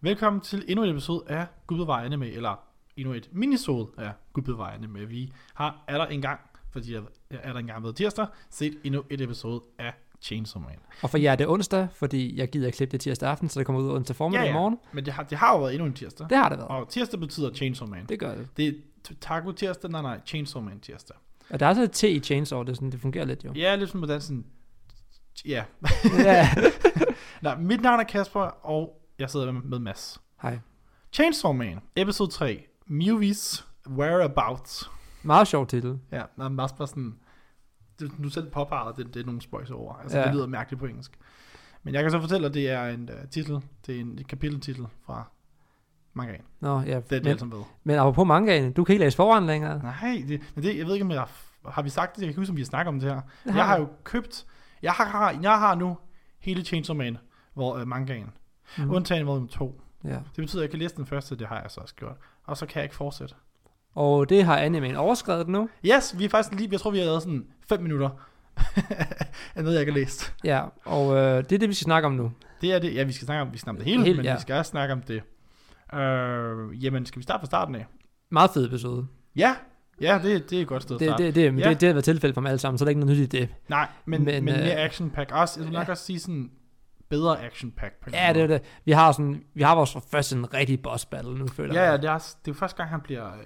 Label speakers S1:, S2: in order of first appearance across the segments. S1: Velkommen til endnu en episode af Gud bevarer anime, eller endnu et minisode af Gud bevarer anime. Vi har er der engang, fordi jeg jeg er der engang ved tirsdag, set endnu et episode af Chainsaw Man.
S2: Og for jer er det onsdag, fordi jeg gider at klippe det tirsdag aften, så det kommer ud onsdag formiddag i morgen.
S1: men det har, det har jo været endnu en tirsdag.
S2: Det har det været.
S1: Og tirsdag betyder Chainsaw Man.
S2: Det gør det.
S1: Det er t- taco tirsdag, nej nej, Chainsaw Man tirsdag.
S2: Og der er så et T i Chainsaw, det, er sådan, det fungerer lidt jo.
S1: Ja, lidt som hvordan sådan, ja.
S2: ja.
S1: Nej, mit navn er Kasper, og jeg sidder med, med Mads.
S2: Hej.
S1: Chainsaw Man, episode 3, Movies, Whereabouts.
S2: Meget sjov titel.
S1: Ja, der er meget bare sådan... Det, du selv påpegede, det, det er nogle spøjs over. Altså, ja.
S2: Ja.
S1: det lyder mærkeligt på engelsk. Men jeg kan så fortælle, at det er en uh, titel. Det er en et kapiteltitel fra mangaen.
S2: Nå,
S1: Det
S2: ja.
S1: er det,
S2: men,
S1: jeg som ved.
S2: men apropos mangaen, du kan ikke læse foran længere.
S1: Nej, det, men det, jeg ved ikke, om jeg... Har vi sagt det? Jeg kan ikke huske, om vi har snakket om det her.
S2: Det har
S1: jeg har
S2: vi.
S1: jo købt... Jeg har, jeg har nu hele Chainsaw Man, hvor uh, mangaen. Mm.
S2: Mhm.
S1: Undtagen volume 2.
S2: Ja.
S1: Det betyder, at jeg kan læse den første, det har jeg så også gjort. Og så kan jeg ikke fortsætte.
S2: Og det har animen overskrevet nu.
S1: Yes, vi er faktisk lige... Jeg tror, vi har lavet sådan 5 minutter af noget, jeg ikke har læst.
S2: Ja, og øh, det er det, vi skal snakke om nu.
S1: Det er det. Ja, vi skal snakke om, vi snakker om det hele,
S2: Det hele,
S1: men
S2: ja.
S1: vi skal også snakke om det. Øh, jamen, skal vi starte fra starten af?
S2: Meget fed episode.
S1: Ja, ja det, det er et godt sted at
S2: Det,
S1: starte.
S2: det, det, det,
S1: Ja.
S2: det, det har været tilfældet for dem alle sammen, så der er ikke noget nyt i det.
S1: Nej, men, men,
S2: Men,
S1: men
S2: øh,
S1: mere action pack. Også, jeg vil nok
S2: ja.
S1: også sige sådan bedre action pack. På en
S2: Ja,
S1: måde.
S2: det er det. Vi har, sådan, vi har vores første sådan rigtig boss battle nu, føler
S1: Ja, ja,
S2: jeg.
S1: det er, også, det er første gang, han bliver øh,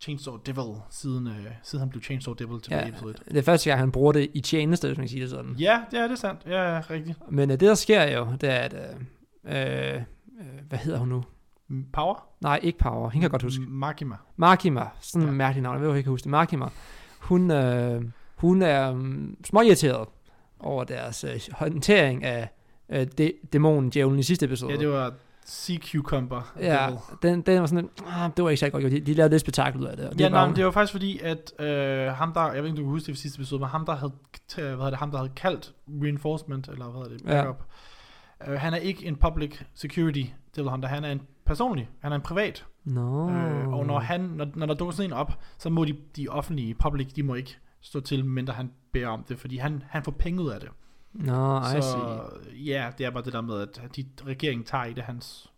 S1: Chainsaw Devil, siden, øh, siden han blev Chainsaw Devil til ja. episode et.
S2: det er første gang, han bruger det i tjeneste, hvis man kan sige det sådan.
S1: Ja, det er det er sandt. Ja, rigtigt.
S2: Men øh, det, der sker jo, det er, at... Øh, øh, øh, hvad hedder hun nu?
S1: Mm, Power?
S2: Nej, ikke Power. Hende kan jeg godt huske.
S1: M- Makima.
S2: Makima. Sådan en
S1: Mm. Ja.
S2: ja. mærkelig navn. Jeg ved, jeg kan huske det. Makima. Hun, øh, hun er um, småirriteret over deres øh, håndtering af øh, de, dæmonen, djævlen i sidste episode.
S1: Ja, det var Sea Cucumber
S2: ja
S1: Devil.
S2: den, den var sådan en, ah, det var ikke særlig godt gjort. De, de lavede lidt spektakel ud af det. Og det
S1: Ja,
S2: var
S1: nej,
S2: hun-
S1: men det var faktisk fordi, at øh, ham der, jeg ved ikke, om du kan huske det fra sidste episode, men ham der havde, t- hvad hedder det, ham der havde kaldt reinforcement, eller hvad hedder det,
S2: Ja.
S1: backup, ja. øh, han er ikke en public security devil hunter, han er en personlig, han er en privat,
S2: Nå.
S1: oh.
S2: Mm.
S1: øh, og når, han, når, når der dukker sådan en op, så må de, de offentlige, public, de må ikke stå til, mindre han beder om det, fordi han, han får penge ud af det.
S2: Nå, I see.
S1: så ja, det er bare det der med, at de, regeringen tager i det hans,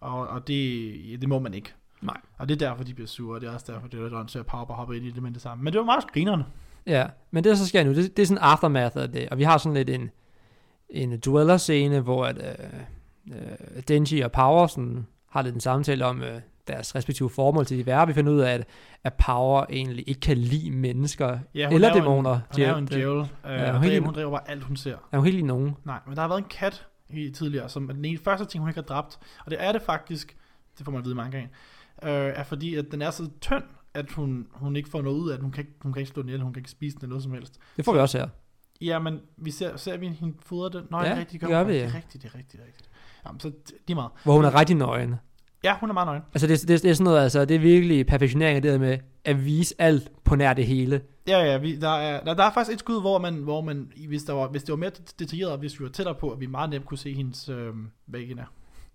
S1: og, og det, ja, det må man ikke.
S2: Nej.
S1: Og det er derfor, de bliver sure, og det er også derfor, det er der til at Power bare hopper ind i det med det samme. Men det var meget grineren.
S2: Ja, men det der så sker nu, det, det er sådan aftermath af det, og vi har sådan lidt en, en dueller-scene, hvor at, øh, øh, Denji og Power sådan, har lidt en samtale om øh, deres respektive formål til de værre. Vi finder ud af, at, at Power egentlig ikke kan lide mennesker
S1: Ja, hun
S2: eller
S1: er jo
S2: dæmoner.
S1: En, hun er jo en
S2: Det-
S1: djævel, øh,
S2: er
S1: ja,
S2: jo
S1: hun,
S2: helt-
S1: dræber, hun dræber bare alt, hun ser.
S2: Er jo helt lige nogen.
S1: Nej, men der har været en kat i, tidligere, som er den ene første ting, hun ikke har dræbt. Og det er det faktisk, det får man at vide mange gange, øh, er fordi, at den er så tynd, at hun, hun ikke får noget ud af den. Hun kan ikke, hun kan ikke slå den ihjel, hun kan ikke spise den eller noget som helst.
S2: Det får vi også her.
S1: Ja, men vi ser, ser vi hende fodre den? Nå,
S2: Ja,
S1: det er rigtigt,
S2: det
S1: hun
S2: gør vi,
S1: faktisk. Det er
S2: ja.
S1: rigtigt, det er rigtigt, det er rigtigt. Jamen, så det- lige meget.
S2: Hvor hun er rigtig nøgen.
S1: Ja, hun er meget nøgen.
S2: Altså det, det, det er sådan noget, altså det er virkelig perfektionering af det der med at vise alt på nær det hele.
S1: Ja, ja, vi, der, er, der, der er faktisk et skud, hvor man, hvor man hvis, der var, hvis det var mere det- detaljeret, og hvis vi var tættere på, at vi meget nemt kunne se hendes øh, vagina.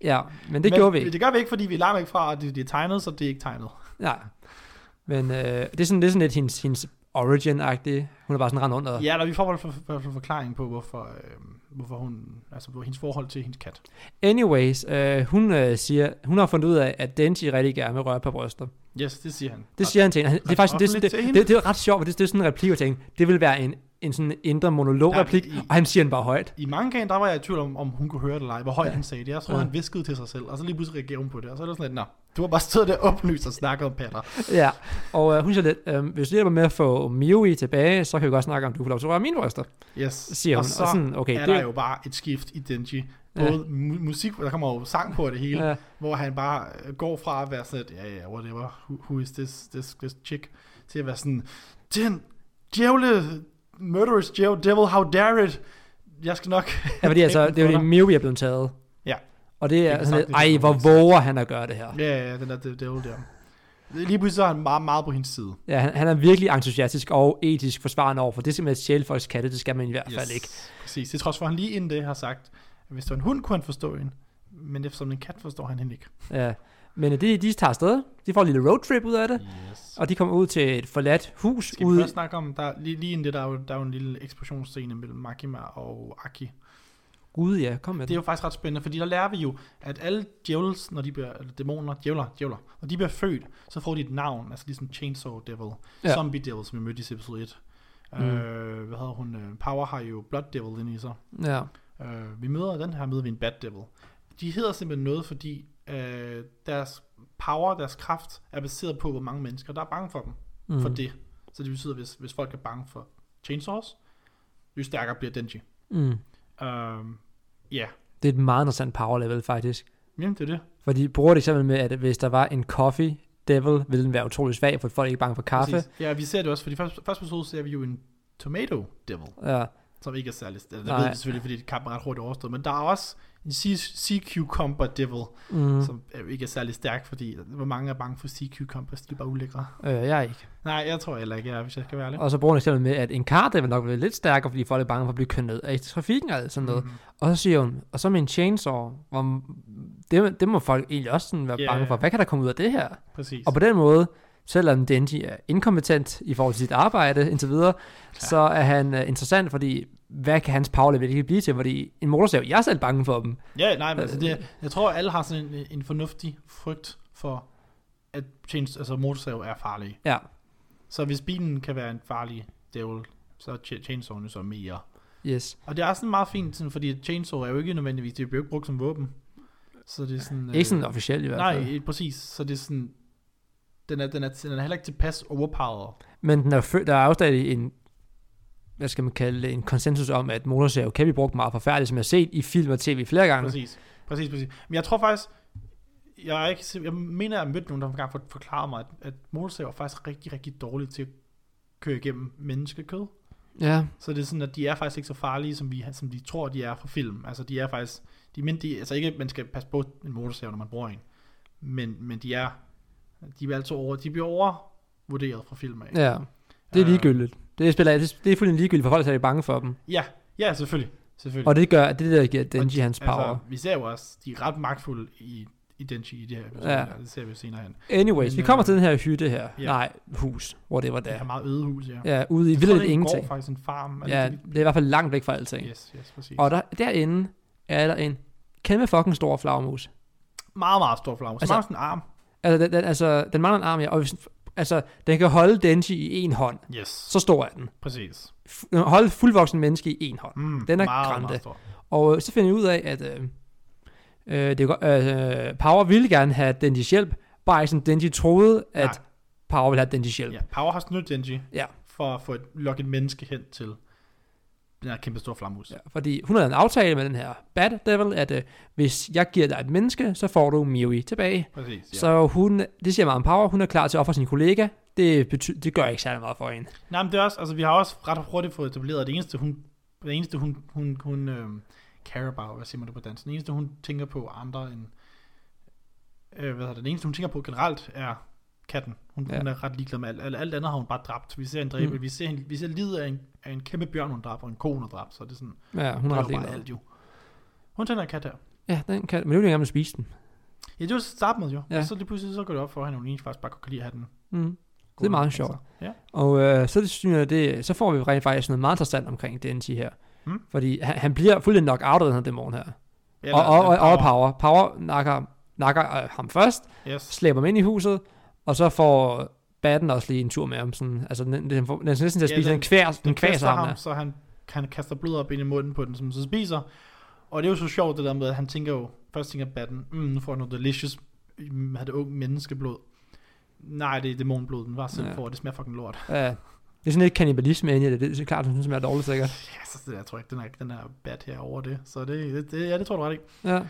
S2: Ja, men det men, gjorde vi ikke.
S1: Det gør vi ikke, fordi vi er langt væk fra, at det, det er tegnet, så det er ikke tegnet.
S2: Nej. Men øh, det, er sådan, det er sådan lidt hendes, hendes origin-agtige. Hun er bare sådan rendt under.
S1: Ja, eller vi får i hvert fald for, for, for forklaring på, hvorfor, øh, hvorfor hun, altså hvor hendes forhold til hendes kat.
S2: Anyways, øh, hun øh, siger, hun har fundet ud af, at Denji rigtig gerne vil røre på bryster.
S1: Yes, det siger han.
S2: Det siger han til hende. Han- Det er
S1: ret
S2: faktisk det,
S1: offentligt
S2: det,
S1: til hende.
S2: det, det, det er ret sjovt, for det, det er sådan en replik, jeg tænkte, det vil være en, en sådan indre monolog-replik,
S1: Ja, men i-
S2: og han siger den bare højt.
S1: I mangaen, der var jeg i tvivl om, om hun kunne høre det eller ej, hvor højt ja.
S2: Ja.
S1: han sagde det. Jeg tror, ja.
S2: Ja.
S1: han viskede til sig selv, og så lige pludselig reagerede hun på det, og så er det sådan lidt, nå, du har bare stået der oplyst og snakket om patter.
S2: Ja, og øh, hun siger lidt, øh, hvis du hjælper med at få Miui tilbage, så kan vi godt snakke om, du får lov til at røre mine bryster,
S1: Yes.
S2: siger hun.
S1: og så
S2: og sådan, okay,
S1: okay, er
S2: det
S1: der jo bare et skift i Denji.
S2: Ja.
S1: Både mu- musik, der kommer jo sang på det hele, ja.
S2: ja,
S1: hvor han bare øh, går fra at være sådan et, ja ja, whatever, who, who is this, this, this chick, til at være sådan, den djævle, murderous djævle, devil, how dare it, jeg skal nok.
S2: ja, fordi altså,
S1: knække den
S2: det er jo
S1: for
S2: det,
S1: dig.
S2: Miui er blevet taget.
S1: Ja.
S2: Og det
S1: Det
S2: er
S1: er
S2: sådan
S1: sagt,
S2: lidt,
S1: det er
S2: ej,
S1: det,
S2: hvor
S1: hun
S2: våger han at gøre det her.
S1: Ja, ja, ja, den der devil der. Lige pludselig så er han meget, meget på hendes side.
S2: Ja, han, han er virkelig entusiastisk og etisk forsvarende over for det, er simpelthen at stjæle folks katte, det skal man i hvert fald ikke.
S1: Præcis, det er trods for, at han lige inden det har sagt, at hvis det var en hund, kunne han forstå hende, men eftersom en kat forstår han hende ikke.
S2: Ja. Men øh, de, de tager afsted, de får en lille roadtrip ud af det,
S1: Yes.
S2: og de kommer ud til et forladt hus
S1: Skal vi
S2: ude.
S1: først snakke om, der, lige, lige inden det, der er, jo, der er jo en lille eksplosionsscene mellem Makima og Aki.
S2: Gud ja, kom med
S1: Det er
S2: det.
S1: jo faktisk ret spændende, fordi der lærer vi jo, at alle djævels, når de bliver, eller dæmoner, djævler, djævler, når de bliver født, så får de et navn, altså ligesom Chainsaw Devil,
S2: Ja.
S1: ja. Zombie Devil, som vi mødte i episode 1. Mm.
S2: Mm.
S1: Øh, hvad hedder hun? Øh, Power har jo Blood Devil inde i sig.
S2: Ja.
S1: Øh, vi møder den her, møder vi en Bad Devil. De hedder simpelthen noget, fordi øh, deres power, deres kraft, er baseret på, hvor mange mennesker, der er bange for dem.
S2: Mm.
S1: For det. Så det betyder, hvis, hvis folk er bange for chainsaws, jo stærkere bliver Denji.
S2: Mm.
S1: Øhm, Ja,
S2: Det er et meget interessant power level, faktisk.
S1: jamen det er det.
S2: For de bruger et eksempel med, at hvis der var en coffee devil, ville den være utrolig svag, for folk er ikke bange for kaffe. Præcis.
S1: Præcis. Ja, vi ser det også, for de første, første episode ser vi jo en tomato devil,
S2: Ja,
S1: som ikke er særlig stærk. Det
S2: Nej.
S1: ved vi selvfølgelig, fordi kampen er ret hurtigt overstået, men der er også en sea, sea cucumber devil,
S2: mm.
S1: mm. som øh, ikke er særlig stærk, fordi hvor mange er bange for sea cucumbers, de er bare ulækre.
S2: øh, jeg er ikke.
S1: Nej, jeg tror heller ikke, jeg er, hvis jeg skal være ærlig.
S2: Og så bruger hun et eksempel med, at en kar devil nok vil være lidt stærkere, fordi folk er bange for at blive kørt ned af i trafikken og alt sådan noget. Mm.
S1: Mhm.
S2: Og så siger hun, og så med en chainsaw, hvor det, det må folk egentlig også sådan være
S1: Ja.
S2: yeah. bange for. Hvad kan der komme ud af det her?
S1: Præcis.
S2: Og på den måde, selvom Denji er inkompetent i forhold til sit arbejde indtil videre, ja. så er han uh, interessant, fordi hvad kan hans power level ikke blive til? Fordi en motorsav, jeg er selv bange for dem.
S1: Ja, nej, men altså, det, jeg tror, alle har sådan en, en fornuftig frygt for, at chains, altså motorsav er farlige.
S2: Ja,
S1: Så hvis bilen kan være en farlig dævel, så er cha- chainsawen jo så mere.
S2: yes.
S1: Og det er sådan meget fint, sådan, fordi chainsaw er jo ikke nødvendigvis, det bliver jo ikke brugt som våben. Så det er sådan...
S2: Ikke sådan officielt i hvert fald.
S1: Øh, Nej, præcis. Så det er sådan... Den er, den er, den er heller ikke tilpas overpowered.
S2: Men den er, fø- der er jo stadig en, hvad skal man kalde det, en konsensus om, at motorsav kan blive brugt meget forfærdeligt, som jeg har set i film og tv flere gange.
S1: Præcis. Præcis, præcis. Men jeg tror faktisk, jeg, er ikke, sim- jeg mener, jeg mødte nogen, der engang for- forklarede mig, at, at motorsaver er faktisk rigtig, rigtig dårlige til at køre igennem menneskekød.
S2: Ja,
S1: Så det er sådan, at de er faktisk ikke så farlige, som, vi, som de tror, de er fra film. Altså, de er faktisk... De, men de, altså ikke, at man skal passe på en motorsav, når man bruger en. Men, men de er... De, er altså over, de bliver overvurderet fra film af.
S2: ja. Det
S1: Øh,
S2: er ligegyldigt. Det, spiller, det er fuldstændig ligegyldigt, for folk så er de bange for dem.
S1: Ja, ja selvfølgelig. selvfølgelig.
S2: Og det gør, det er det, der giver Denji
S1: Og-
S2: hans power.
S1: vi ser jo også, de er ret magtfulde i, i Denji i det her episode.
S2: Ja.
S1: Ja. Det ser vi jo senere hen.
S2: Anyways,
S1: Men,
S2: vi kommer
S1: øh,
S2: til den her hytte her.
S1: ja.
S2: Nej, hus, hvor det var
S1: Det
S2: der.
S1: er meget øde hus, ja. Jeg
S2: Ja, ude i
S1: tror,
S2: vildt
S1: det er en gård,
S2: ingenting.
S1: faktisk en farm. Er det
S2: Ja,
S1: ikke det?
S2: det er i hvert fald langt væk fra alting.
S1: Yes, yes, præcis.
S2: Og der, derinde er der en kæmpe fucking stor flagmus.
S1: meget, meget stor flamme. Så altså,
S2: Altså-
S1: meget sådan en arm.
S2: Altså, den, den, altså, den mangler en arm, ja. Og hvis, altså, den kan holde Denji i en hånd.
S1: Yes,
S2: Så stor er den.
S1: præcis.
S2: F- den kan holde fuldvoksen menneske i en hånd.
S1: Mm,
S2: Den er
S1: meget,
S2: grande.
S1: Meget stor.
S2: Og øh, så finder jeg ud af, at øh, øh, det, er godt- øh, Power ville gerne have Denji's hjælp, bare ikke som Denji troede, at
S1: Nej.
S2: Power ville have Denji's hjælp.
S1: Ja, Power har snydt Denji
S2: Ja.
S1: for at få et, lokke et menneske hen til den her kæmpe store flammehus.
S2: Ja, fordi hun havde en aftale med den her Bad Devil, at øh, hvis jeg giver dig et menneske, så får du Miui tilbage.
S1: Præcis,
S2: Ja.
S1: ja.
S2: Så hun, det siger meget om power, hun er klar til at ofre sin kollega. Det, bety- det gør ikke særlig meget for hende.
S1: Nej, men det er også, altså vi har også ret hurtigt fået etableret, at det eneste hun, det eneste hun, hun, hun øh, care about, hvad siger man det på dansk, det eneste hun tænker på andre end, øh, hvad hedder det, det eneste hun tænker på generelt er katten. Hun,
S2: Ja.
S1: ja. hun er ret ligeglad med alt, alt, alt andet har hun bare dræbt. Vi ser en dræbe,
S2: Mm.
S1: mm. vi ser, en, vi ser livet af en, af en kæmpe bjørn, hun dræber, og en ko, hun har dræbt, så det er sådan,
S2: Ja, hun
S1: hun
S2: er
S1: har
S2: ret
S1: bare
S2: ligeglad.
S1: alt jo. Hun tænder en kat her.
S2: Ja, den kan, men nu vil jeg gerne spise den.
S1: Ja, det var til at starte med jo,
S2: Ja.
S1: ja. og så lige pludselig så går det op for hende, at hun egentlig faktisk bare godt kan lide at have den.
S2: Mm. Det er meget
S1: Altså,
S2: sjovt.
S1: Ja.
S2: Og øh, så, det, synes jeg, det, så får vi rent faktisk noget meget interessant omkring DNT her.
S1: Mm.
S2: Fordi han, han bliver fuldstændig nok out af den her dæmon her.
S1: Ja,
S2: og,
S1: der-
S2: og, og,
S1: der-
S2: og power. Power nakker, nakker øh, ham først,
S1: Yes.
S2: slæber ham ind i huset, og så får Batten også lige en tur med ham. Sådan, altså, den, den, den, får- den er næsten til at
S1: Ja,
S2: spise, ja,
S1: den-
S2: den, den, kvær, den, den kvæser
S1: kvæster
S2: ham. der.
S1: så han, han kaster blod op ind i munden på den, som så spiser. Og det er jo så sjovt det der med, at han tænker jo, først tænker Batten, mm, nu får jeg noget delicious, mm, har det unge menneskeblod. Nej, det er dæmonblod, den var selv
S2: Ja.
S1: ja. for, det smager fucking lort.
S2: Ja. Det er sådan lidt kannibalisme inde i det. Det er klart, at hun smager dårligt sikkert.
S1: Ja, så det, jeg tror ikke, den er, den er bad her over det. Så det, det, det, ja, det tror du ret ikke.
S2: Ja.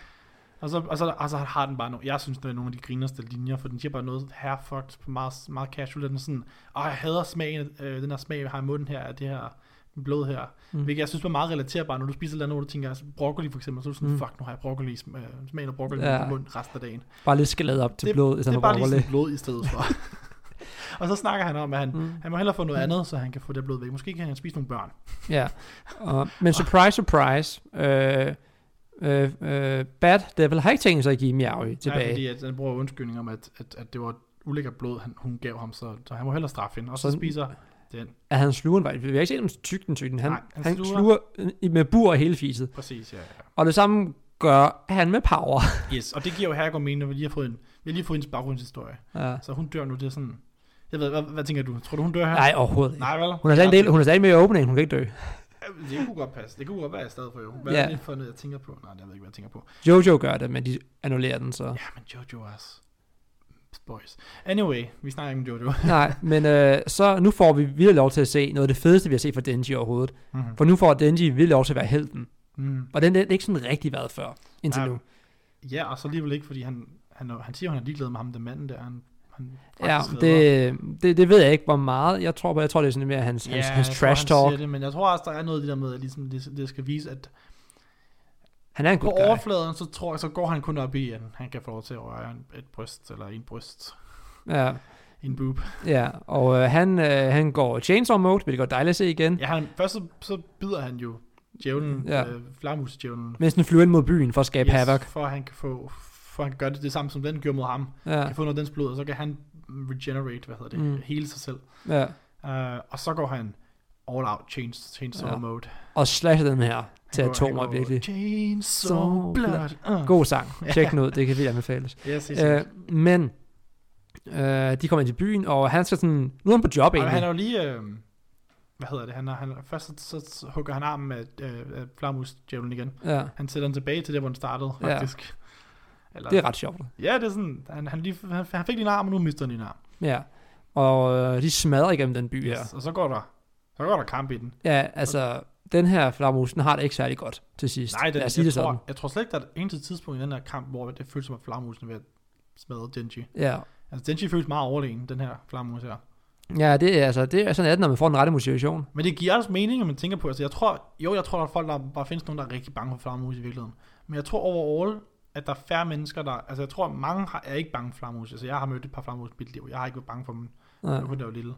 S1: Og så, og så, og så har den bare nogle, jeg synes, det er nogle af de grinerste linjer, for den siger bare noget herrefugt, på meget, meget casual, den er sådan, åh, jeg hader smagen, øh, den her smag, jeg har i munden her, af det her blod her,
S2: Mm.
S1: mm. hvilket jeg synes var meget relaterbart, når du spiser et eller andet, hvor du tænker, altså, broccoli for eksempel, så er du sådan,
S2: Mm.
S1: mm. fuck, nu har jeg broccoli, sm- øh, smagen af broccoli
S2: Ja.
S1: ja. i munden resten af dagen.
S2: Bare lidt skaleret op til blod, i
S1: det
S2: stedet
S1: er
S2: for
S1: bare lige
S2: broccoli.
S1: sådan blod i stedet for. og så snakker han om, at han,
S2: Mm.
S1: han må hellere få noget andet, så han kan få det blod væk. Måske kan han spise nogle børn.
S2: Ja. Og, men surprise, surprise. Øh, øh, øh, Bad Devil har ikke tænkt sig at give Miaui
S1: Nej,
S2: tilbage.
S1: fordi at, han bruger undskyldning om, at, at, at det var ulækkert blod, han, hun gav ham, så, så han må hellere straffe hende. Og så,
S2: Så-
S1: så spiser Den,
S2: at han sluger en vej. Vi har ikke set ham tyk den tyk den. Han,
S1: Nej, han
S2: han, han sluger.
S1: sluger-
S2: sluger med bur og hele fiset.
S1: præcis, ja, ja.
S2: Og det samme gør han med power.
S1: Yes, og det giver jo Herregård mening, når vi lige har fået en, vi har lige fået hendes baggrundshistorie.
S2: Ja.
S1: Så hun dør nu, det er sådan... Jeg ved, hvad, hvad tænker du? Tror du, hun dør her?
S2: Nej, overhovedet ikke.
S1: Nej, vel?
S2: Hun er stadig, en del, hun er stadig med i openingen, hun kan ikke dø.
S1: Det kunne godt passe. Det kunne godt være, jeg stadig for jo. Hvad
S2: Ja.
S1: er det for noget, jeg tænker på? Nej, jeg ved ikke, hvad jeg tænker på.
S2: Jojo gør det, men de annullerer den, så...
S1: Ja, men Jojo er også... Boys. Anyway, vi snakker ikke om Jojo.
S2: Nej, men øh, så nu får vi virkelig lov til at se noget af det fedeste, vi har set fra Denji overhovedet.
S1: Mhm.
S2: For nu får Denji virkelig lov til at være helten.
S1: mm.
S2: Og den den er ikke sådan rigtig været før, indtil
S1: Nej.
S2: nu.
S1: Ja, og så alligevel ikke, fordi han, han, han siger, han er ligeglad med ham, den manden der. Han, han
S2: Ja,
S1: faktisk redder.
S2: det, det, det ved jeg ikke, hvor meget jeg tror på. Jeg tror, det er sådan mere hans, hans, hans
S1: jeg tror,
S2: trash
S1: han
S2: talk.
S1: siger det, men jeg tror også, der er noget af det der med, at ligesom det, det skal vise, at
S2: Han er en
S1: på
S2: god guy.
S1: overfladen, så, tror jeg, så går han kun op i, at han kan få lov til at røre en, et bryst, eller en bryst,
S2: Ja,
S1: en boob.
S2: ja. og øh, han, øh, han går chainsaw mode, hvilket er dejligt at se igen. Ja.
S1: Ja, han, først så, så bider han jo djævlen,
S2: Mm. Ja.
S1: ja. øh, flammusdjævlen.
S2: Mens den flyver ind mod byen for at skabe yes. havoc.
S1: for at han kan få for at han kan gøre det, det samme, som den gjorde mod ham.
S2: Ja,
S1: Kan få noget af dens blod, og så kan han regenerate, hvad hedder det,
S2: Mm.
S1: mm. hele sig selv.
S2: ja.
S1: Uh, og så går han all out change, chainsaw
S2: Ja.
S1: ja. mode. Han
S2: Og slasher den her til
S1: går- han
S2: atomer,
S1: går,
S2: virkelig.
S1: Chainsaw blood. Uh.
S2: God sang. Tjek den ud, det kan vi anbefales.
S1: Yes, yes, yes.
S2: Øh, men øh, de kommer ind til byen, og han skal sådan... Nu er han på job
S1: Og
S2: egentlig.
S1: han er jo lige... Øh, hvad hedder det? Han er, han er, først så, så, så hugger han armen af, øh, af flammusdjævlen igen.
S2: ja,
S1: Han sætter den tilbage til der, hvor den startede,
S2: Ja.
S1: faktisk. Eller,
S2: det er ret sjovt.
S1: Ja, det er sådan... Han, han, lige, han, han fik din arm, og nu mister han din arm.
S2: Ja. Og øh, de smadrer igennem den by her.
S1: Yes. Og så går der... Så går der kamp i den.
S2: Ja, altså... Den her flagermus, den har det ikke særlig godt til sidst.
S1: Nej, den,
S2: Lad
S1: jeg,
S2: os sige
S1: jeg,
S2: det sådan.
S1: tror, jeg tror slet ikke, der er et eneste tidspunkt i den her kamp, hvor det føles som, at flammusen er ved at smadre Denji.
S2: Ja.
S1: Altså, Denji føles meget overlegen, den her flammus her.
S2: ja, det er altså... Det er sådan, at når man får den rette motivation.
S1: Men det giver også mening, når man tænker på, altså jeg tror, jo, jeg tror, der er folk, der bare findes nogen, der er rigtig bange for flammus i virkeligheden. Men jeg tror overall, at der er færre mennesker, der, altså jeg tror, mange har, er ikke bange for flammus. Altså jeg har mødt et par flammus i mit liv, jeg har ikke været bange for dem,
S2: Ja.
S1: når jeg var lille.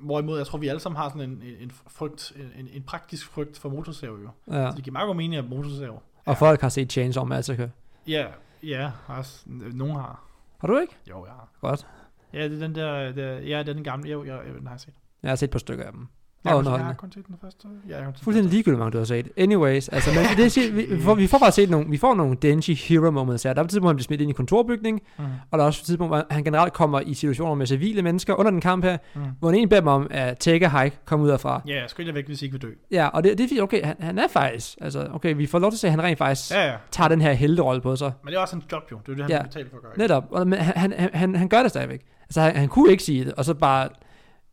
S1: Hvorimod, jeg tror, vi alle sammen har sådan en, en, en frygt, en, en praktisk frygt for motorsav jo.
S2: ja.
S1: Så det giver meget god mening, at motorsav.
S2: Og folk har set Chainsaw Massacre.
S1: Ja, ja, også, nogen har.
S2: Har du ikke?
S1: Jo, jeg har.
S2: Godt.
S1: Ja, det er den der, der ja, det er den gamle, jo, jeg, jeg, den har jeg set.
S2: Jeg har set et par stykker af dem.
S1: Jeg, har
S2: Og
S1: kun- jeg har
S2: underholdende.
S1: kun set den første. Ja, jeg har kun set den
S2: Fuldstændig
S1: første.
S2: ligegyldigt, hvor mange du har set. Anyways, altså, men det, siger- vi, vi, får, vi får bare set nogle, vi får nogle Denji hero moments her. Der er et tidspunkt, hvor han bliver smidt ind i en kontorbygning,
S1: Mhm,
S2: Og der er også et tidspunkt, hvor han generelt kommer i situationer med civile mennesker under den kamp her,
S1: mhm.
S2: hvor han egentlig beder dem om at take a hike, komme ud derfra.
S1: Ja, jeg skulle ikke væk, hvis I ikke vil dø.
S2: Ja, og det, det er fordi, okay, han, han er faktisk, altså, okay, vi får lov til at se, at han rent faktisk ja.
S1: Ja, ja.
S2: tager den her helterolle på sig.
S1: Men det er også hans job jo. Det er jo det, han
S2: Ja.
S1: ja. betaler for at gøre.
S2: Netop, og, men han, han, han, han gør det stadigvæk. Altså, han, han kunne ikke sige det, og så bare,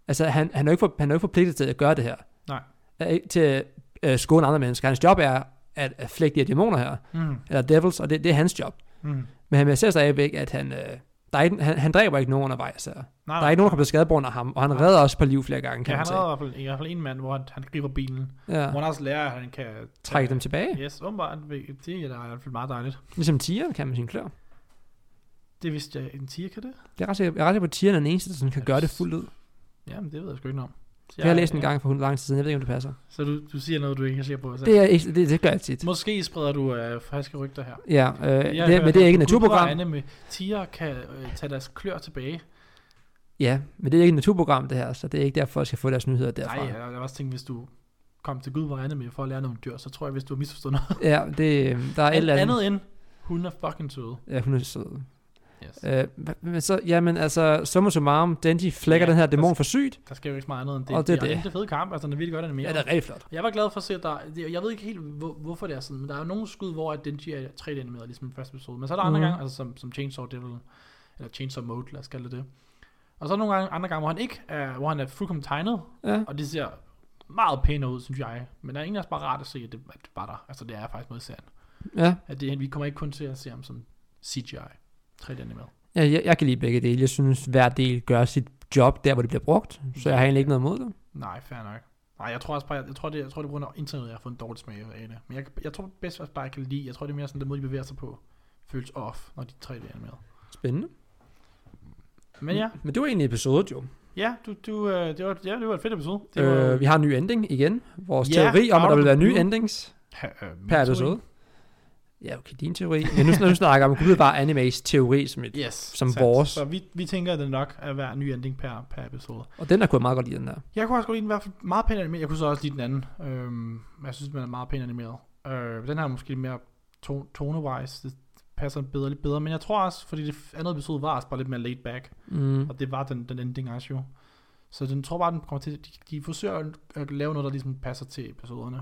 S2: altså, han, han, er jo ikke for, han er jo ikke forpligtet til at gøre det her.
S1: Nej.
S2: Er ikke Til at øh, skåne andre mennesker. Hans job er at, at flække de her dæmoner her,
S1: Mm,
S2: eller devils, og det, det er hans job.
S1: mm.
S2: Men han ser stadigvæk, at han, øh, der er ikke, han, han dræber ikke nogen undervejs her.
S1: Nej,
S2: Der er ikke nogen, der kommer til skade på grund af ham, og han redder også på liv flere gange, kan
S1: Ja,
S2: ja, man
S1: han
S2: sige.
S1: havde i hvert fald, i hvert fald en mand, hvor han, han griber bilen. Ja. Hvor
S2: Ja.
S1: han også lærer, at han kan...
S2: Trække dem tilbage.
S1: Yes, åbenbart. Det er da i hvert fald meget dejligt.
S2: Ligesom tigeren kan med sin klør.
S1: Det vidste jeg, en tiger kan det.
S2: Det er ret sikker, jeg er ret sikker på, at tigeren er den eneste, der sådan kan
S1: Ja,
S2: gøre det
S1: s-
S2: fuldt ud.
S1: Jamen, det ved jeg sgu ikke noget om. Så
S2: Jeg har læst en gang for lang tid siden, jeg ved ikke, om det passer.
S1: Så du, du siger noget, du ikke kan se på. Så.
S2: Det, er, ikke- det, det gør jeg tit.
S1: Måske spreder du øh, falske rygter her.
S2: Ja, øh,
S1: Jeg
S2: det,
S1: hører,
S2: men det er ikke et
S1: at
S2: naturprogram.
S1: guldregne med tiger kan øh, tage deres klør tilbage.
S2: Ja, men det er ikke et naturprogram, det her, så det er ikke derfor, jeg skal få deres nyheder
S1: Nej,
S2: derfra.
S1: jeg, jeg har også tænkt, hvis du kom til Gud på regne med for at lære nogle dyr, så tror jeg, hvis du har misforstået noget
S2: Ja, det, øh, der er et eller
S1: andet,
S2: andet.
S1: andet end, hun er fucking søde.
S2: Ja, hun er sød.
S1: Yes.
S2: Øh, men så, jamen altså, summa summarum, Denji flækker
S1: Ja, altså,
S2: den her
S1: der
S2: dæmon for sygt.
S1: Der sker jo ikke så meget andet end det.
S2: Og det er det.
S1: Det er fede kamp, altså den er virkelig godt
S2: Ja,
S1: animeret.
S2: det er rigtig flot.
S1: Jeg var glad for at se, at der, det- jeg ved ikke helt, hvor, hvorfor det er sådan, men der er jo nogle skud, hvor at Denji er 3D-animeret, ligesom i den første episode. Men så er der andre
S2: Mhm.
S1: gange, altså som, som Chainsaw Devil, eller Chainsaw Mode, lad os kalde det det. Og så er der nogle gange, andre gange, hvor han ikke er, hvor han er fuldkommen tegnet,
S2: Ja,
S1: og det ser meget pænere ud, synes jeg. Men det er egentlig også bare rart at se, at det, at det var der. Altså det er faktisk med i serien.
S2: ja.
S1: At det, vi kommer ikke kun til at se ham som CGI. 3D-animeret.
S2: Ja, jeg, jeg kan lide begge dele. Jeg synes, hver del gør sit job der, hvor det bliver brugt. Så jeg har egentlig ikke noget imod det.
S1: Nej, fair nok. Nej, jeg tror også bare, jeg, jeg tror, det, jeg tror, det er på grund af internet, jeg har fået en dårlig smag af det. Men jeg, jeg tror bedst også bare, jeg kan lide, jeg tror, det er mere sådan, den måde, de bevæger sig på, føles off, når de 3 d animeret.
S2: Spændende.
S1: Men ja,
S2: Men det var egentlig episodet jo.
S1: ja, du, du, øh, det, var, ja, det var et fedt episode. Det var,
S2: Mm. Øh, vi har en ny ending igen. Vores
S1: Ja,
S2: teori om, at
S1: out
S2: der
S1: of
S2: vil
S1: the
S2: være nye
S1: blue.
S2: endings
S1: ha, øh, min
S2: per
S1: teori.
S2: episode. Ja, okay, din teori. Men nu, når du snakker om, gud bare animes teori som et...
S1: Yes,
S2: Som vores.
S1: Så vi, vi tænker, at det nok er hver ny ending per, per episode.
S2: Og den der kunne jeg meget godt lide, den der.
S1: Jeg kunne også godt lide den i hvert fald meget pænt animeret. Jeg kunne så også lide den anden. Øhm, jeg synes, den er meget pænt animeret. Øh, den her er måske mere to- tone-wise. Det passer bedre, lidt bedre. Men jeg tror også, fordi det andet episode var også bare lidt mere laid back.
S2: Mm.
S1: Og det var den, den ending også jo. Så den tror bare, den kommer til, de, de forsøger at- at lave noget, der ligesom passer til episoderne.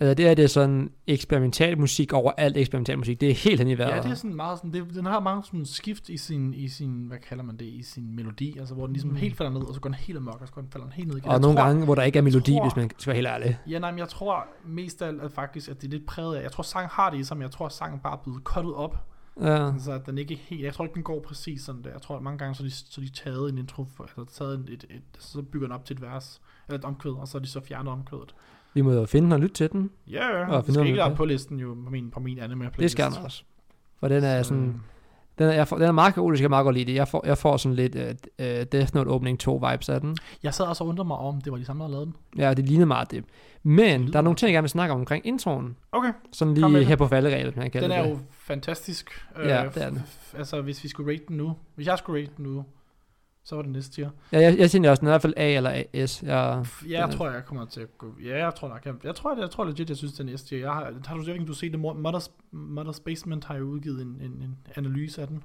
S2: Øh, det er det er sådan eksperimental musik over alt eksperimental musik. Det er helt hen i vejret.
S1: Ja, det er sådan meget sådan, det, den har mange sådan skift i sin, i sin, hvad kalder man det, i sin melodi, altså hvor den ligesom
S2: Mm.
S1: mm. helt falder ned, og så går den helt amok, og så går den falder den helt ned igen.
S2: Og
S1: Jeg
S2: nogle
S1: tror,
S2: gange, hvor der ikke er
S1: jeg
S2: melodi,
S1: tror-
S2: hvis man skal være helt ærlig.
S1: Ja, nej, men jeg tror mest af alt at faktisk, at det er lidt præget af, jeg tror sang har det i sig, men jeg tror sangen bare er blevet cuttet op,
S2: Ja.
S1: så at den ikke helt, jeg tror ikke den går præcis sådan der, jeg tror at mange gange, så er de, så er de taget en intro, for, eller taget en, et, et, så bygger den op til et vers, eller et omkvæd, og så er de så fjernet omkvædet.
S2: Vi må jo finde den og lytte til den.
S1: Ja, yeah,
S2: Og
S1: og
S2: finde
S1: det
S2: ud af,
S1: skal ikke
S2: hvad det
S1: være
S2: er.
S1: på listen jo, på min, på min anime playlist.
S2: Det skal den også. For den er
S1: Så,
S2: sådan...
S1: øh,
S2: Den er, jeg får, den er meget kaotisk, jeg kan meget godt lide det. Jeg får, jeg får sådan lidt uh, Death Note Opening 2 vibes af den.
S1: Jeg sad også og undrede mig om, det var de samme, der lavede den.
S2: Ja, det ligner meget det. Men der er
S1: lyder-
S2: nogle ting, jeg gerne vil snakke om omkring introen.
S1: Okay.
S2: Sådan
S1: Kom med
S2: lige
S1: det.
S2: her på falderæbet, man kan
S1: Den
S2: det.
S1: er jo fantastisk.
S2: Ja,
S1: Øh,
S2: det er den.
S1: f- f- Altså, hvis vi skulle rate den nu, hvis jeg skulle rate den nu, så var det næste tier.
S2: Ja, jeg, jeg tænker også, den er i hvert fald A eller AS. Jeg,
S1: F- Ja,
S2: Den
S1: jeg
S2: er-
S1: tror, jeg kommer til at gå... Ja, jeg tror nok. Jeg, jeg tror, jeg, jeg tror legit, jeg synes, det er næste tier. Jeg har, har du, jeg ved ikke, om du har set det? Mother's, Mother's Basement har jo udgivet en, en, en analyse af den.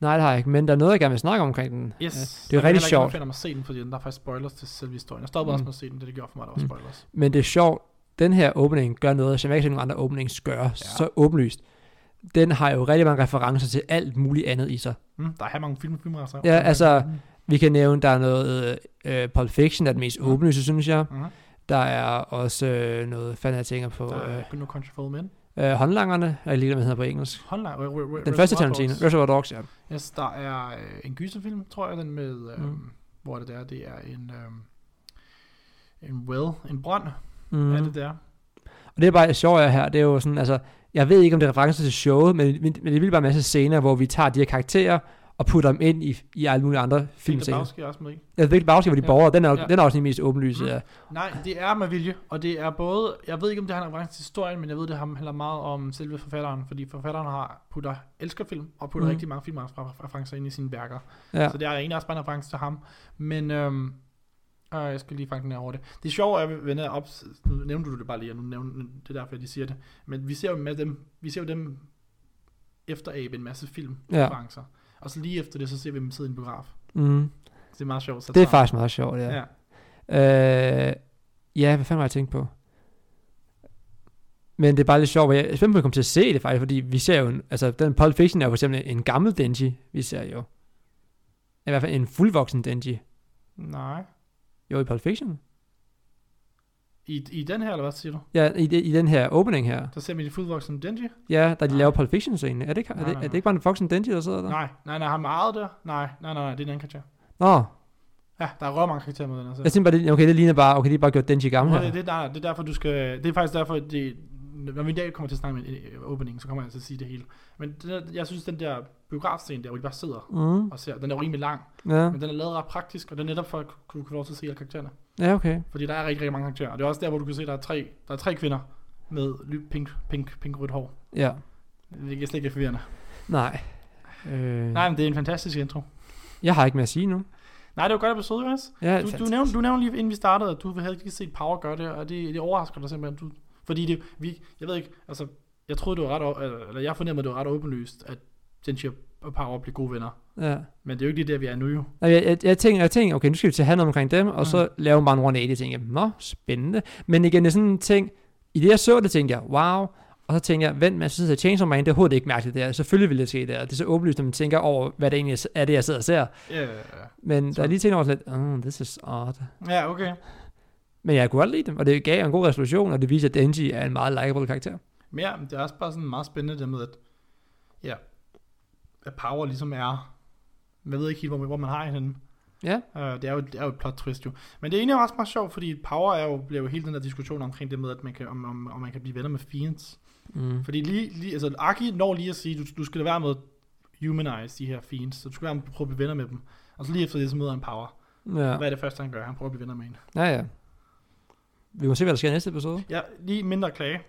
S2: nej, det har jeg ikke, men der er noget, jeg gerne vil snakke om omkring den.
S1: Yes.
S2: Øh,
S1: Ja,
S2: det er jo rigtig sjovt,
S1: Jeg mig at se den, fordi den der er faktisk spoilers til selve historien. Jeg stoppede
S2: Mm.
S1: mm. også med at se den, det det gjorde for mig, der var
S2: Mm.
S1: spoilers.
S2: men det er sjovt. Den her åbning gør noget, som jeg ikke har set nogen andre openings gøre, ja. så åbenlyst. Den har jo rigtig mange referencer til alt muligt andet i sig.
S1: Mm. Der er her mange film, filmrejser.
S2: Ja, altså-
S1: Mm.
S2: Vi kan nævne, der er noget øh, Pulp Fiction, der er den mest åbenlyse, synes jeg.
S1: Mhm.
S2: Der er også øh, noget, fanden jeg tænker på,
S1: Der
S2: øh,
S1: er No Country for Old Men. øh,
S2: øh, håndlangerne, jeg er lige hvad den hedder på engelsk.
S1: Håndlej. re- re- re-
S2: Den første
S1: Reservoir
S2: Tarantino,
S1: Dogs.
S2: Reservoir Dogs, ja.
S1: Yes, der er øh, en gyserfilm, tror jeg, den med, øh,
S2: Mm.
S1: mm. hvor er det der, det er en, øh, en well, en brønd,
S2: Mm.
S1: mm. er det der.
S2: Og det er bare sjovt er her, det er jo sådan, altså, jeg ved ikke, om det er referencer til showet, men, men, men det er vildt bare en masse scener, hvor vi tager de her karakterer, og putter dem ind i, i alle mulige andre
S1: Filmscene.
S2: filmscener.
S1: Det er også med i.
S2: Jeg ved ikke, Bowski, hvor de
S1: Ja.
S2: ja. borgere, den er, ja. Mhm.
S1: Ja.
S2: den er også den mest åbenlyse.
S1: Mm.
S2: Ja.
S1: Nej, det er med vilje, og det er både, jeg ved ikke, om det handler om reference til historien, men jeg ved, det handler meget om selve forfatteren, fordi forfatteren har putter, elsker film, og putter
S2: Mm.
S1: mm. rigtig mange filmreferencer ind i sine værker.
S2: Ja.
S1: Ja. Så det er egentlig også bare en reference til ham. Men øhm, øh, jeg skal lige fange den her over det. Det sjove er, at vender jeg op, nu nævnte du det bare lige, og nu nævnte det er derfor, at de siger det. Men vi ser jo med dem, vi ser jo dem efterabe en masse filmreferencer. Ja. Og så lige efter det, så ser vi dem sidde i en biograf.
S2: Mm.
S1: Så det er meget sjovt. Så
S2: Det er faktisk meget sjovt, ja.
S1: Ja.
S2: Ja,
S1: ja.
S2: øh, ja hvad fanden var jeg tænkt på? Men det er bare lidt sjovt, hvor jeg jeg er spændt på, at komme til at se det faktisk, fordi vi ser jo, en, altså den Pulp Fiction er jo for eksempel en gammel Denji, vi ser jo. I hvert fald en fuldvoksen Denji.
S1: Nej.
S2: Jo, i Pulp Fiction.
S1: I, I den her, eller hvad siger du?
S2: Ja, i, i den her opening her.
S1: Der ser vi de fuldvoksne Denji?
S2: Ja, da de
S1: Nej.
S2: laver Pulp Fiction-scenen. Er det, ikke, er,
S1: Nej,
S2: det,
S1: nej,
S2: er det
S1: nej.
S2: ikke bare en Foxen Denji, der sidder der?
S1: Nej, nej, nej, ham er ejet der. Nej, nej, nej, nej, det er en anden karakter.
S2: Nå,
S1: Ja, der er røv mange karakterer med den her serie.
S2: jeg tænkte bare, det- okay, det ligner bare, okay, de har bare gjort Denji gammel
S1: Nå,
S2: her.
S1: det, det, nej, det er derfor, du skal... Det er faktisk derfor, at det, når vi i dag kommer til at snakke med en opening, så kommer jeg til at sige det hele. Men det, der- jeg synes, den der biografscene der, hvor de bare sidder
S2: Mm,
S1: og ser, den er jo rimelig lang,
S2: ja.
S1: men den er lavet ret praktisk, og det er netop for at kunne, kunne få lov til at se alle karaktererne.
S2: ja, okay.
S1: Fordi der er rigtig, rigtig mange karakterer, og det er også der, hvor du kan se, at der er tre, der er tre kvinder med ly- pink, pink, pink rødt hår.
S2: Ja,
S1: Det er slet ikke forvirrende.
S2: nej. Øh,
S1: Nej, men det er en fantastisk intro.
S2: Jeg har ikke mere at sige nu.
S1: Nej, det var et godt episode, Jonas.
S2: Ja,
S1: Du, du,
S2: fantastisk.
S1: nævnte, du nævnte lige inden vi startede, at du havde ikke set Power gøre det, og det, det overrasker dig simpelthen. Du, fordi det, vi, jeg ved ikke, altså, jeg troede, det var ret, o- eller eller jeg fornemmer, det var ret åbenlyst, at Genshin og Power blev gode venner.
S2: Ja.
S1: Men det er jo ikke lige der, vi er nu jo.
S2: Nej, Jeg, jeg, jeg, tænkte, jeg tænkte, okay, nu skal vi til at have noget omkring dem, og
S1: Mm.
S2: så lave bare en 180, jeg tænkte jeg, nå, spændende. Men igen, det er sådan en ting, i det jeg så det, tænkte jeg, wow, og så tænkte jeg, vent, man synes, at Chainsaw Man, det er overhovedet ikke mærkeligt der. Selvfølgelig ville det ske der. Det er så åbenlyst, når man tænker over, hvad det egentlig er, det jeg sidder og ser.
S1: Ja,
S2: Men så. der
S1: Så-
S2: er lige ting over lidt, oh, this is odd.
S1: ja okay.
S2: Men jeg kunne godt lide dem, og det gav en god resolution, og det viser, at Denji er en meget likeable karakter.
S1: Men ja, det er også bare sådan meget spændende det med, at, ja, at Power ligesom er, jeg ved ikke helt, hvor, hvor man har hende.
S2: Ja.
S1: Uh, det, er jo, det er jo et plot twist jo. Men det er egentlig også meget sjovt, fordi Power er jo, bliver jo hele den der diskussion omkring det med, at man kan, om, om, om man kan blive venner med fiends.
S2: Mm.
S1: Fordi lige, lige altså Aki når lige at sige, du, du skal lade være med at humanize de her fiends, så du skal lade være med at prøve at blive venner med dem. Og så lige efter det, så møder han Power. Ja.
S2: Ja.
S1: Hvad er det første, han gør? Han prøver at blive venner med en.
S2: ja, ja. Vi må se, hvad der sker i næste episode.
S1: Ja, lige mindre klage.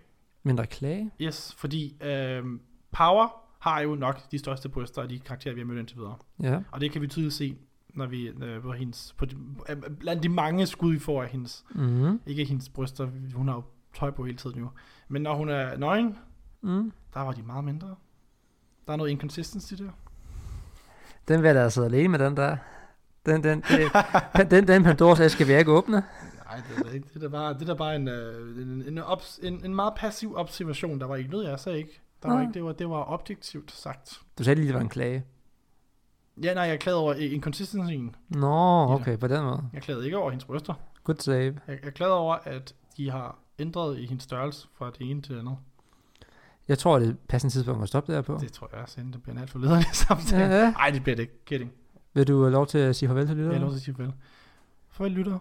S2: Mindre klage.
S1: Yes, fordi øh, Power har jo nok de største bryster af de karakterer, vi har mødt indtil videre.
S2: Ja.
S1: Og det kan vi tydeligt se, når vi øh, på hendes, på de, øh, blandt de mange skud, vi får af hendes.
S2: Mm.
S1: Ikke hendes bryster, hun har jo tøj på hele tiden jo. Men når hun er nøgen,
S2: Mm.
S1: der var de meget mindre. Der er noget inconsistency der.
S2: Den vil jeg da altså alene med, den der. Den, den, det, den, den Pandoras æske vil jeg ikke åbne.
S1: Nej, det er da ikke. Det er da bare, det er da bare en, øh, en, en, obs, en, en meget passiv observation. Der var ikke noget, jeg sagde ikke. Der var
S2: Nej.
S1: ikke det, var, det var objektivt sagt.
S2: Du sagde lige, det var en klage.
S1: Ja, nej, jeg klagede over i- inconsistencyen.
S2: Nå, okay, på den måde.
S1: Jeg klagede ikke over hendes bryster.
S2: Good save.
S1: Jeg, jeg klagede over, at de har ændret i hendes størrelse fra det ene til det andet.
S2: Jeg tror, det er et passende tidspunkt at stoppe der på.
S1: Det tror jeg også, inden det bliver en alt for lederlig
S2: Ja,
S1: samtale.
S2: ja.
S1: Nej, det bliver det ikke. Kidding.
S2: Vil du have lov til at sige farvel til
S1: Jeg er lov til
S2: lytterne?
S1: at sige farvel. Farvel, lyttere.